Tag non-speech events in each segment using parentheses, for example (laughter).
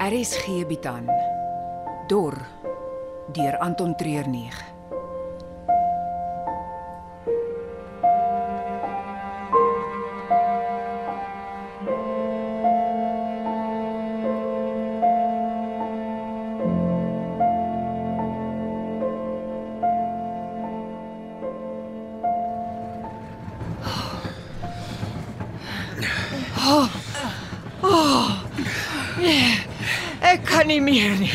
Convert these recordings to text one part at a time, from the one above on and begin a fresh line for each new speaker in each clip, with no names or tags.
RSG bied aan Dor deur Anton Treuer 9.
Ek kan nie meer nie.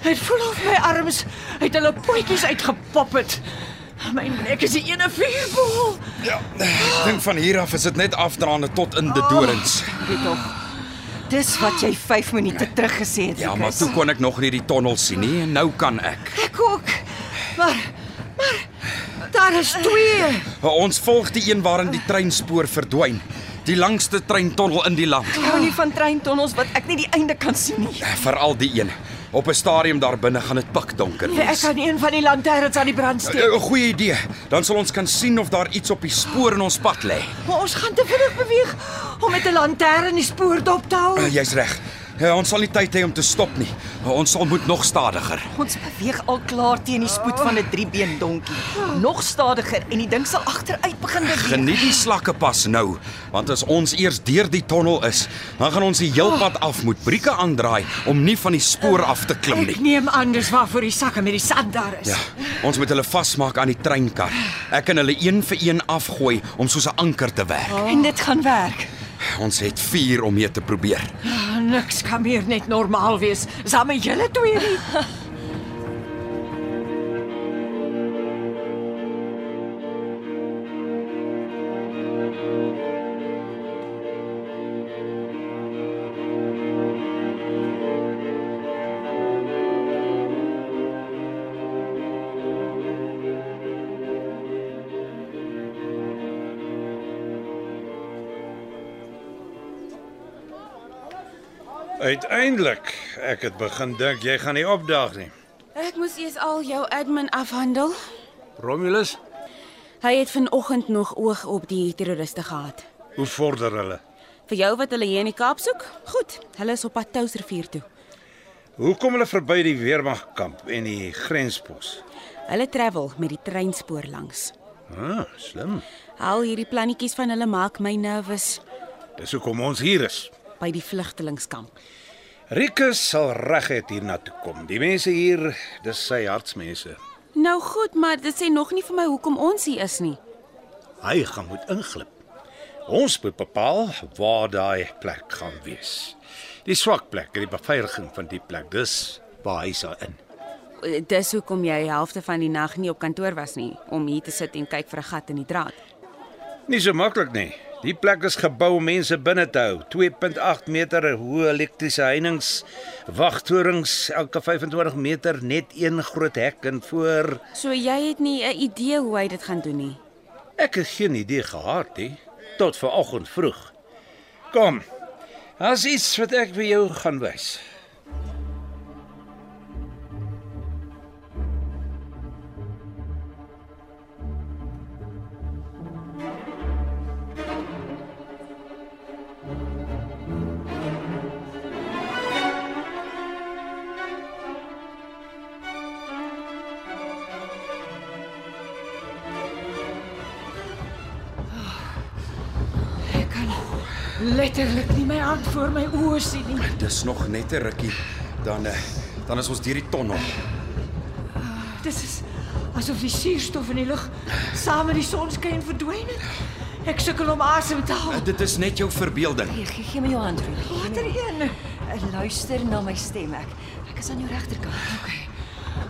Dit voel of my arms uit hulle potjies uitgepop het. My nek is 'n ene vuurbol.
Ja, ek dink van hier af is dit net afdraande tot in die dorings.
Dit tog. Dis wat jy 5 minute terug gesê het.
Ja,
Chris.
maar toe kon ek nog nie die tonnel sien nie en nou kan ek.
ek ook. Maar maar daar is twee.
Ons volg die een waarin die treinspoor verdwyn. Die langste treintonnel in die land,
Ek hou nie van treintonnels wat ek nie die einde kan sien nie.
veral die een. Op 'n stadium daar binne gaan dit pikdonker
Nee, Ek
wees.
kan een van die lanterns aan die brand steek.
'n Goeie idee. Dan sal ons kan sien of daar iets op die spoor in ons pad lê.
Maar ons gaan te vinnig beweeg om met 'n lantern die spoor dop te hou.
Uh, Jy's reg. Uh, ons sal nie tyd hê om te stop nie. Uh, ons sal moet nog stadiger.
Ons beweeg al klaar teen die spoed van 'n driebeen donkie. Nog stadiger en die ding sal agteruit begin beweeg.
Geniet die slakke pas nou, want as ons eers deur die tonnel is, dan gaan ons die heel pad af moet brieke aandraai om nie van die spoor af te klim
Ek
nie.
neem anders waarvoor die sakke met die sand daar is.
Ja, ons moet hulle vasmaak aan die treinkar. Ek kan hulle een vir een afgooi om soos 'n anker te werk.
En dit gaan werk.
Ons het 4 om mee te probeer.
Ah, Niks kan meer net normaal wees. Saam met julle twee nie.
Ah.
Uiteindelik, ek het begin dink jy gaan nie opdaag nie.
Ek moes eers al jou admin afhandel.
Romulus,
Hy het vanoggend nog oog op die terroriste gehad.
hoe vorder hulle?
Vir jou wat hulle hier in die Kaap soek? Goed, hulle is op pad Touwsrivier toe.
Hoe kom hulle verby die weermagkamp en die grenspos?
Hulle travel met die treinspoor langs.
Ah, slim.
Al hierdie plannetjies van hulle maak my nervus
Dis hoekom ons hier is.
by die vlugtelingkamp.
Rikus sal reg het hiernatoe kom. Die mense hier, dis sy hartsmense.
Nou goed, maar dit sê nog nie vir my hoekom ons hier is nie.
Hy gaan moet inglip. Ons moet bepaal waar daai plek gaan wees. Die swak plek en die beveiliging van die plek, dis waar hy sal in.
Eh, Dis hoekom jy die helfte van die nag nie op kantoor was nie om hier te sit en kyk vir 'n gat in die draad.
Nie so maklik nie. Die plek is gebou om mense binne te hou. 2.8 meter hoë elektriese heininge, wagtorings elke 25 meter, net een groot hek in voor.
So jy het nie 'n idee hoe hy dit gaan doen nie.
Ek het geen idee gehad nie tot vanoggend vroeg. Kom. Daar's iets wat ek vir jou gaan wys.
Ek kan letterlik nie my hand voor my oë sien nie.
Dis nog net 'n rukkie dan eh, dan is ons deur die tonnel.
Dit is asof die suurstof in die lug saam met die sonskyn verdwyn het. Ek sukkel om asem te haal.
Eh, Dit is net jou verbeelding.
Hier, gee, gee my jou hand, Ruby.
Watter een?
En Eh, luister na my stem ek. Ek is aan jou regterkant. Okay.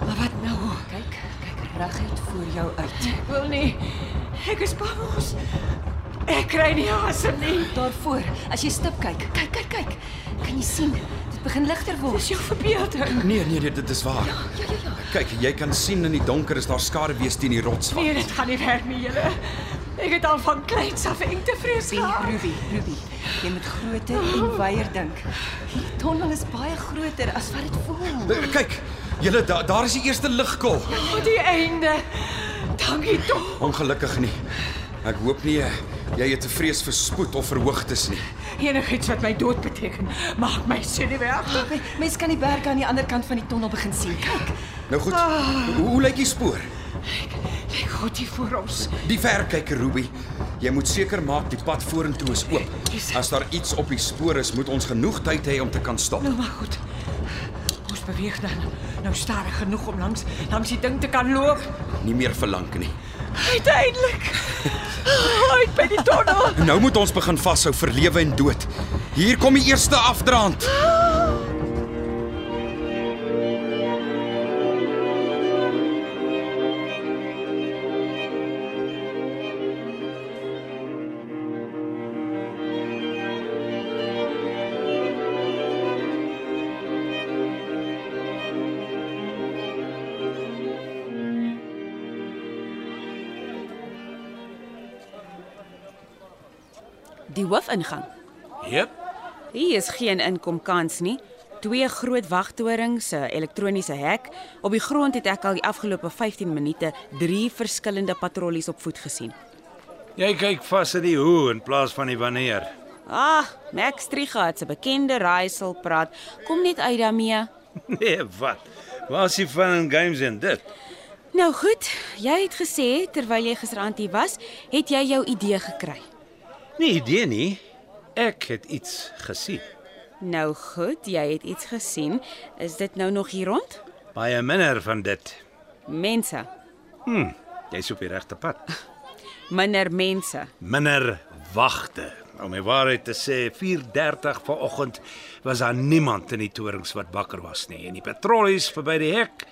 Maar wat nou?
Kyk, kyk reguit voor jou uit.
Ek wil nie. Ek is bang ons. Ek kry nie asem nie.
Daarvoor, as jy stip kyk. Kyk, kyk, kyk. Kan jy sien? Dit begin ligter word.
Dis jou verbeelding.
Nee, nee, nee, dit is waar.
Ja, ja, ja.
Kyk, jy kan sien in die donker is daar skaduwees teen die rots.
Nee, dit gaan nie werk nie, julle. Ek het al van kleins af engte vrees
Ruby,
gehad.
Ruby, Ruby. Jy moet groter en wyer dink. Hierdie tonnel is baie groter as wat dit voel.
Nee, Kyk, julle da, daar is die eerste ligkol.
Tot die einde. Dankie tog.
Ongelukkig nie. Ek hoop nie eh, Jy het 'n vrees vir spoed of verhoogtes nie.
Enigiets wat my dood beteken, maak my senuweeagtig.
Mens kan die berge aan die ander kant van die tonnel begin sien. Kyk,
Nou goed.
Ah.
Hoe, hoe lyk die spoor?
Kyk God hier voor ons.
Die verkyker Ruby, jy moet seker maak die pad vorentoe is oop.
Jesus.
As daar iets op die spoor is, moet ons genoeg tyd hê om te kan stop.
Nou maar goed. Ons beweeg dan nou stadig genoeg om langs langs die ding te kan loop.
Nie meer verlang nie.
Uiteindelik. Uit by Oh, die tonnel.
Nou moet ons begin vashou vir lewe en dood. Hier kom die eerste afdraand.
Die hoofingang.
Jep.
Hier is geen inkomkans nie. Twee groot wagtorings, 'n elektroniese hek. Op die grond het ek al die afgelope 15 minute drie verskillende patrollies op voet gesien.
Jy kyk vas in die hoe in plaas van die wanneer. (laughs)
Ah, Max Trigat se bekende raaisel praat. Kom net uit daarmee.
Nee, wat? Waar is die fun and games in dit?
Nou goed, jy het gesê terwyl jy gisteraand hier was, het jy jou idee gekry.
Nee idee nie. Ek het iets gesien.
Nou goed, jy het iets gesien. Is dit nou nog hier rond?
Baie minder van dit.
Mense,
Hm, jy's op die regte pad.
minder mense.
Minder wagte. Om die waarheid te sê, 4:30 vanoggend was daar niemand in die torings wat wakker was nie en die patrollies verby die hek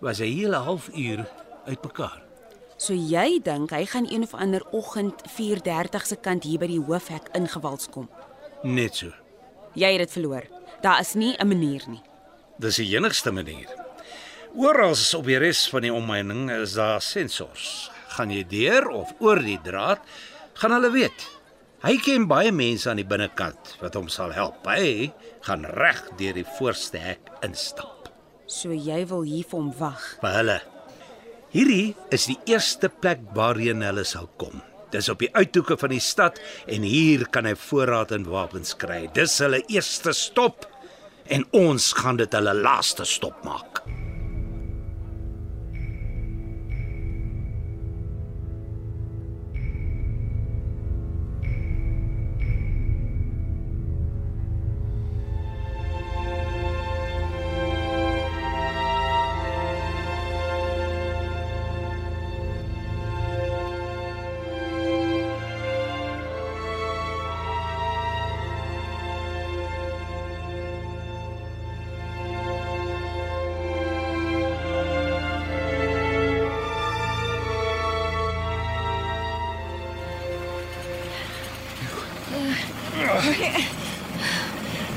was 'n hele halfuur uitmekaar.
So jy dink hy gaan een of ander oggend 4:30 se kant hier by die hoofhek ingewals kom.
Net so.
Jy het dit verloor. Daar is nie 'n manier nie.
Dis die enigste manier. Oral op die res van die omheining is daar sensors. Gaan jy deur of oor die draad, gaan hulle weet. Hy ken baie mense aan die binnekant wat hom sal help. Hy gaan reg deur die voorste hek instap.
So jy wil hier vir hom wag.
vir hulle. Hierdie is die eerste plek waarheen hulle sal kom. Dis op die uithoeke van die stad en hier kan hy voorraad en wapens kry. Dis hulle eerste stop en ons gaan dit hulle laaste stop maak.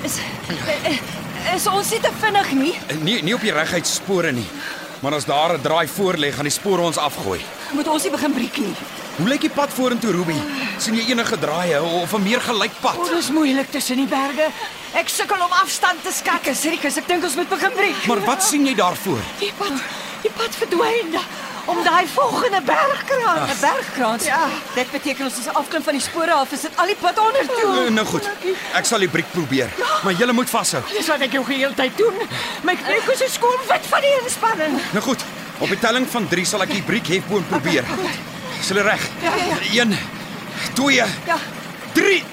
is
eh,
is ons nie te vinnig nie.
Nee, nie op die reguit spore nie. Maar as daar 'n draai voor lê, gaan die spore ons afgooi.
(laughs) Moet ons nie begin breek nie.
Hoe lyk die pad vorentoe, Ruby? sien jy enige draaie of 'n meer gelyk pad?
Oh, Dit is moeilik tussen die berge.
Ek sukkel om afstand te skak. Sirikus, ek dink ons moet begin breek.
Maar wat sien jy daarvoor?
Die pad, die pad verdwyn da- om daai volgende bergkraan.
'n Bergkrans.
Ja.
Dit beteken ons is afklim van die spore af, is dit al die pad onder
Oh.
toe.
Eh, Nou goed. Ek sal die briek probeer, maar jy moet vashou.
Dis wat ek jou geheeltyd doen. My knieë is skoon wit van die inspanning.
Nou goed. Op die telling van 3 sal ek die briek hef boon probeer. Is hulle reg?
Ja, ja,
1 2
Ja.
3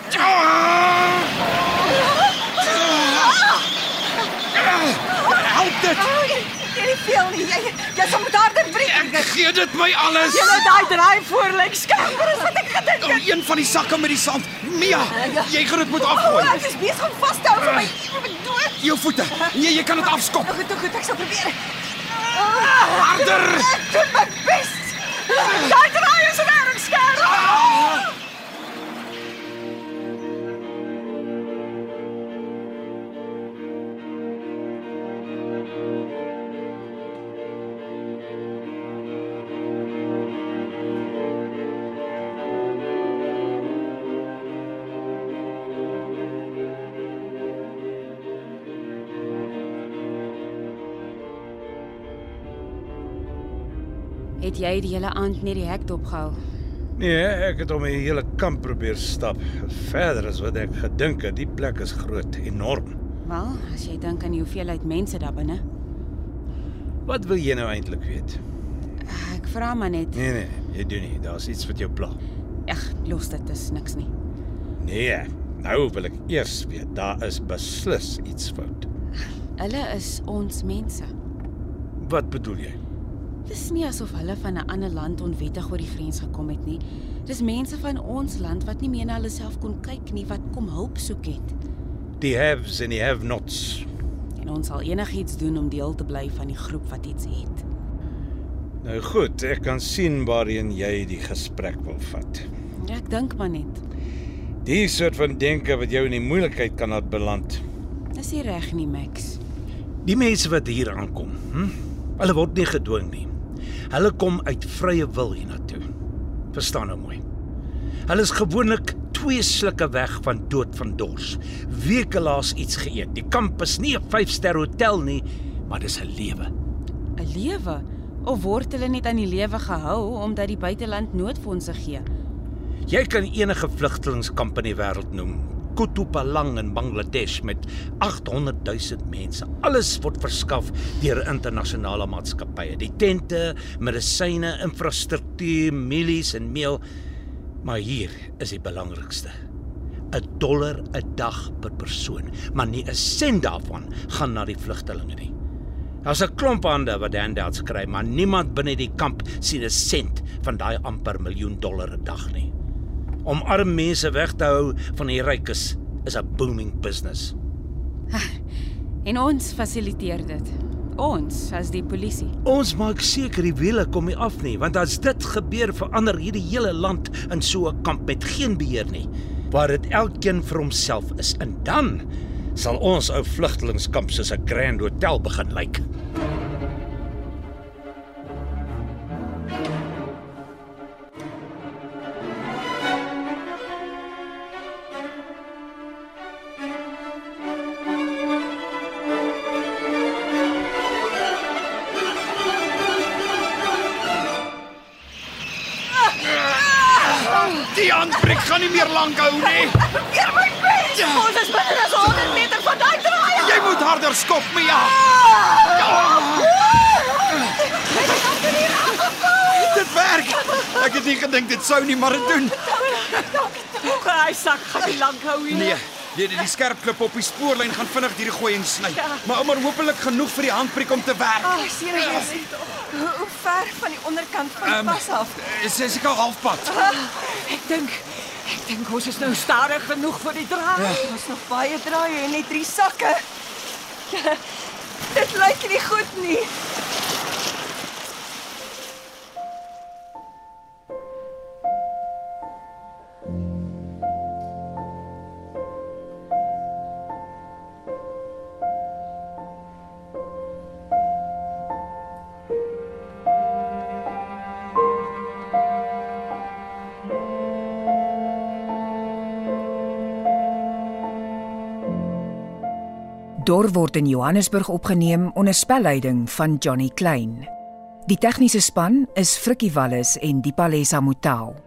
Help dit.
Oh, Jy veel nie. Jy jy sal met harder breek.
Gee dit my alles.
Ja. Jy nou daai draai voor lyk skamper as wat ek gedink.
Oh, een van die sakke met die sand. Mia, jy gaan dit moet afgooi.
Oh, Ek is besig om vas te hou vir my my dood.
Jou voete. Nee, jy kan dit afskop.
Goed, goed, ek sal probeer.
Harder.
Ek doen my bes. Daai draai is regtig
Ja.
skerp.
Het jy die hele aand net die hek dopgehou?
Nee, ek het om 'n hele kamp probeer stap. Verder as wat ek gedink het, die plek is groot, enorm.
Wel, as jy dink aan die hoeveelheid mense daar binne.
Wat wil jy nou eintlik weet?
Ek vra maar net.
Nee nee, jy doen nie. Daar's iets wat jou pla.
Ag, los dit, is niks nie.
Nee, nou wil ek eers weet. Daar is beslis iets fout.
Hulle is ons mense.
Wat bedoel jy?
Dis nie asof hulle van 'n ander land onwettig oor die grens gekom het nie. Dis mense van ons land wat nie meer na hulle self kon kyk nie wat kom hulp soek het.
Die haves en die have-nots.
En ons sal enigiets doen om deel te bly van die groep wat iets het.
Nou goed, ek kan sien waarheen jy die gesprek wil vat.
Ek dink maar net.
Die soort van denke wat jou in die moeilikheid kan laat beland.
Dis nie reg nie, Max.
Die mense wat hier aankom, hm? hulle word nie gedwing nie. Hulle kom uit vrye wil hiernatoe. Verstaan nou mooi. Hulle is gewoonlik twee slukke weg van dood van dors. Weke laas iets geëet. Die kamp is nie 'n 5-ster hotel nie, maar dis 'n lewe.
'n Lewe of word hulle net aan die lewe gehou omdat die buiteland noodfondse gee?
Jy kan enige vlugtelingkamp in die wêreld noem. Kutupalang in Bangladesh met 800 000 mense. Alles word verskaf deur internasionale maatskappye. Die tente, medisyne, infrastruktuur, mielies en meel. Maar hier is die belangrikste. 'n Dollar 'n dag per persoon, maar nie 'n sent daarvan gaan na die vlugtelinge nie. Daar's 'n klomp hande wat handouts kry, maar niemand binne die kamp sien 'n sent van daai amper miljoen dollar 'n dag nie. Om arm mense weg te hou van die rykes is 'n booming business.
En ons fasiliteer dit. Ons as die polisie.
Ons maak seker die wiele kom nie af nie, want as dit gebeur verander hierdie hele land in so 'n kamp met geen beheer nie, waar dit elkeen vir homself is. En dan sal ons ou vlugtelingkamp soos 'n Grand Hotel begin lyk. Like.
Die handbreek gaan nie meer lank hou nie.
Hier my pens. Ons is binne as 100 meter van daai draai.
Jy moet harder skop, Mia. Dit werk. Ek het nie gedink dit sou nie, maar dit doen.
Hoe kan hy sak gaan nie lank hou hier?
Nee. Jy die skerp klip op die spoorlyn gaan vinnig deur gooi en sny.
Ja.
Maar ouma hopelik genoeg vir die handbreek om te werk.
Ag, serieus. Hoe ver van die onderkant van die
Ehm,
Ah, pas af?
Is is ek al halfpad.
Ek dink ek dink ons is nou stadig genoeg vir die draai.
Ons nog baie draaie en net drie sakke. (laughs) Dit lyk nie goed nie.
Dor word in Johannesburg opgeneem onder spelleiding van Johnny Klein. Die tegniese span is Frikkie Wallis en Dipalesa Motelo.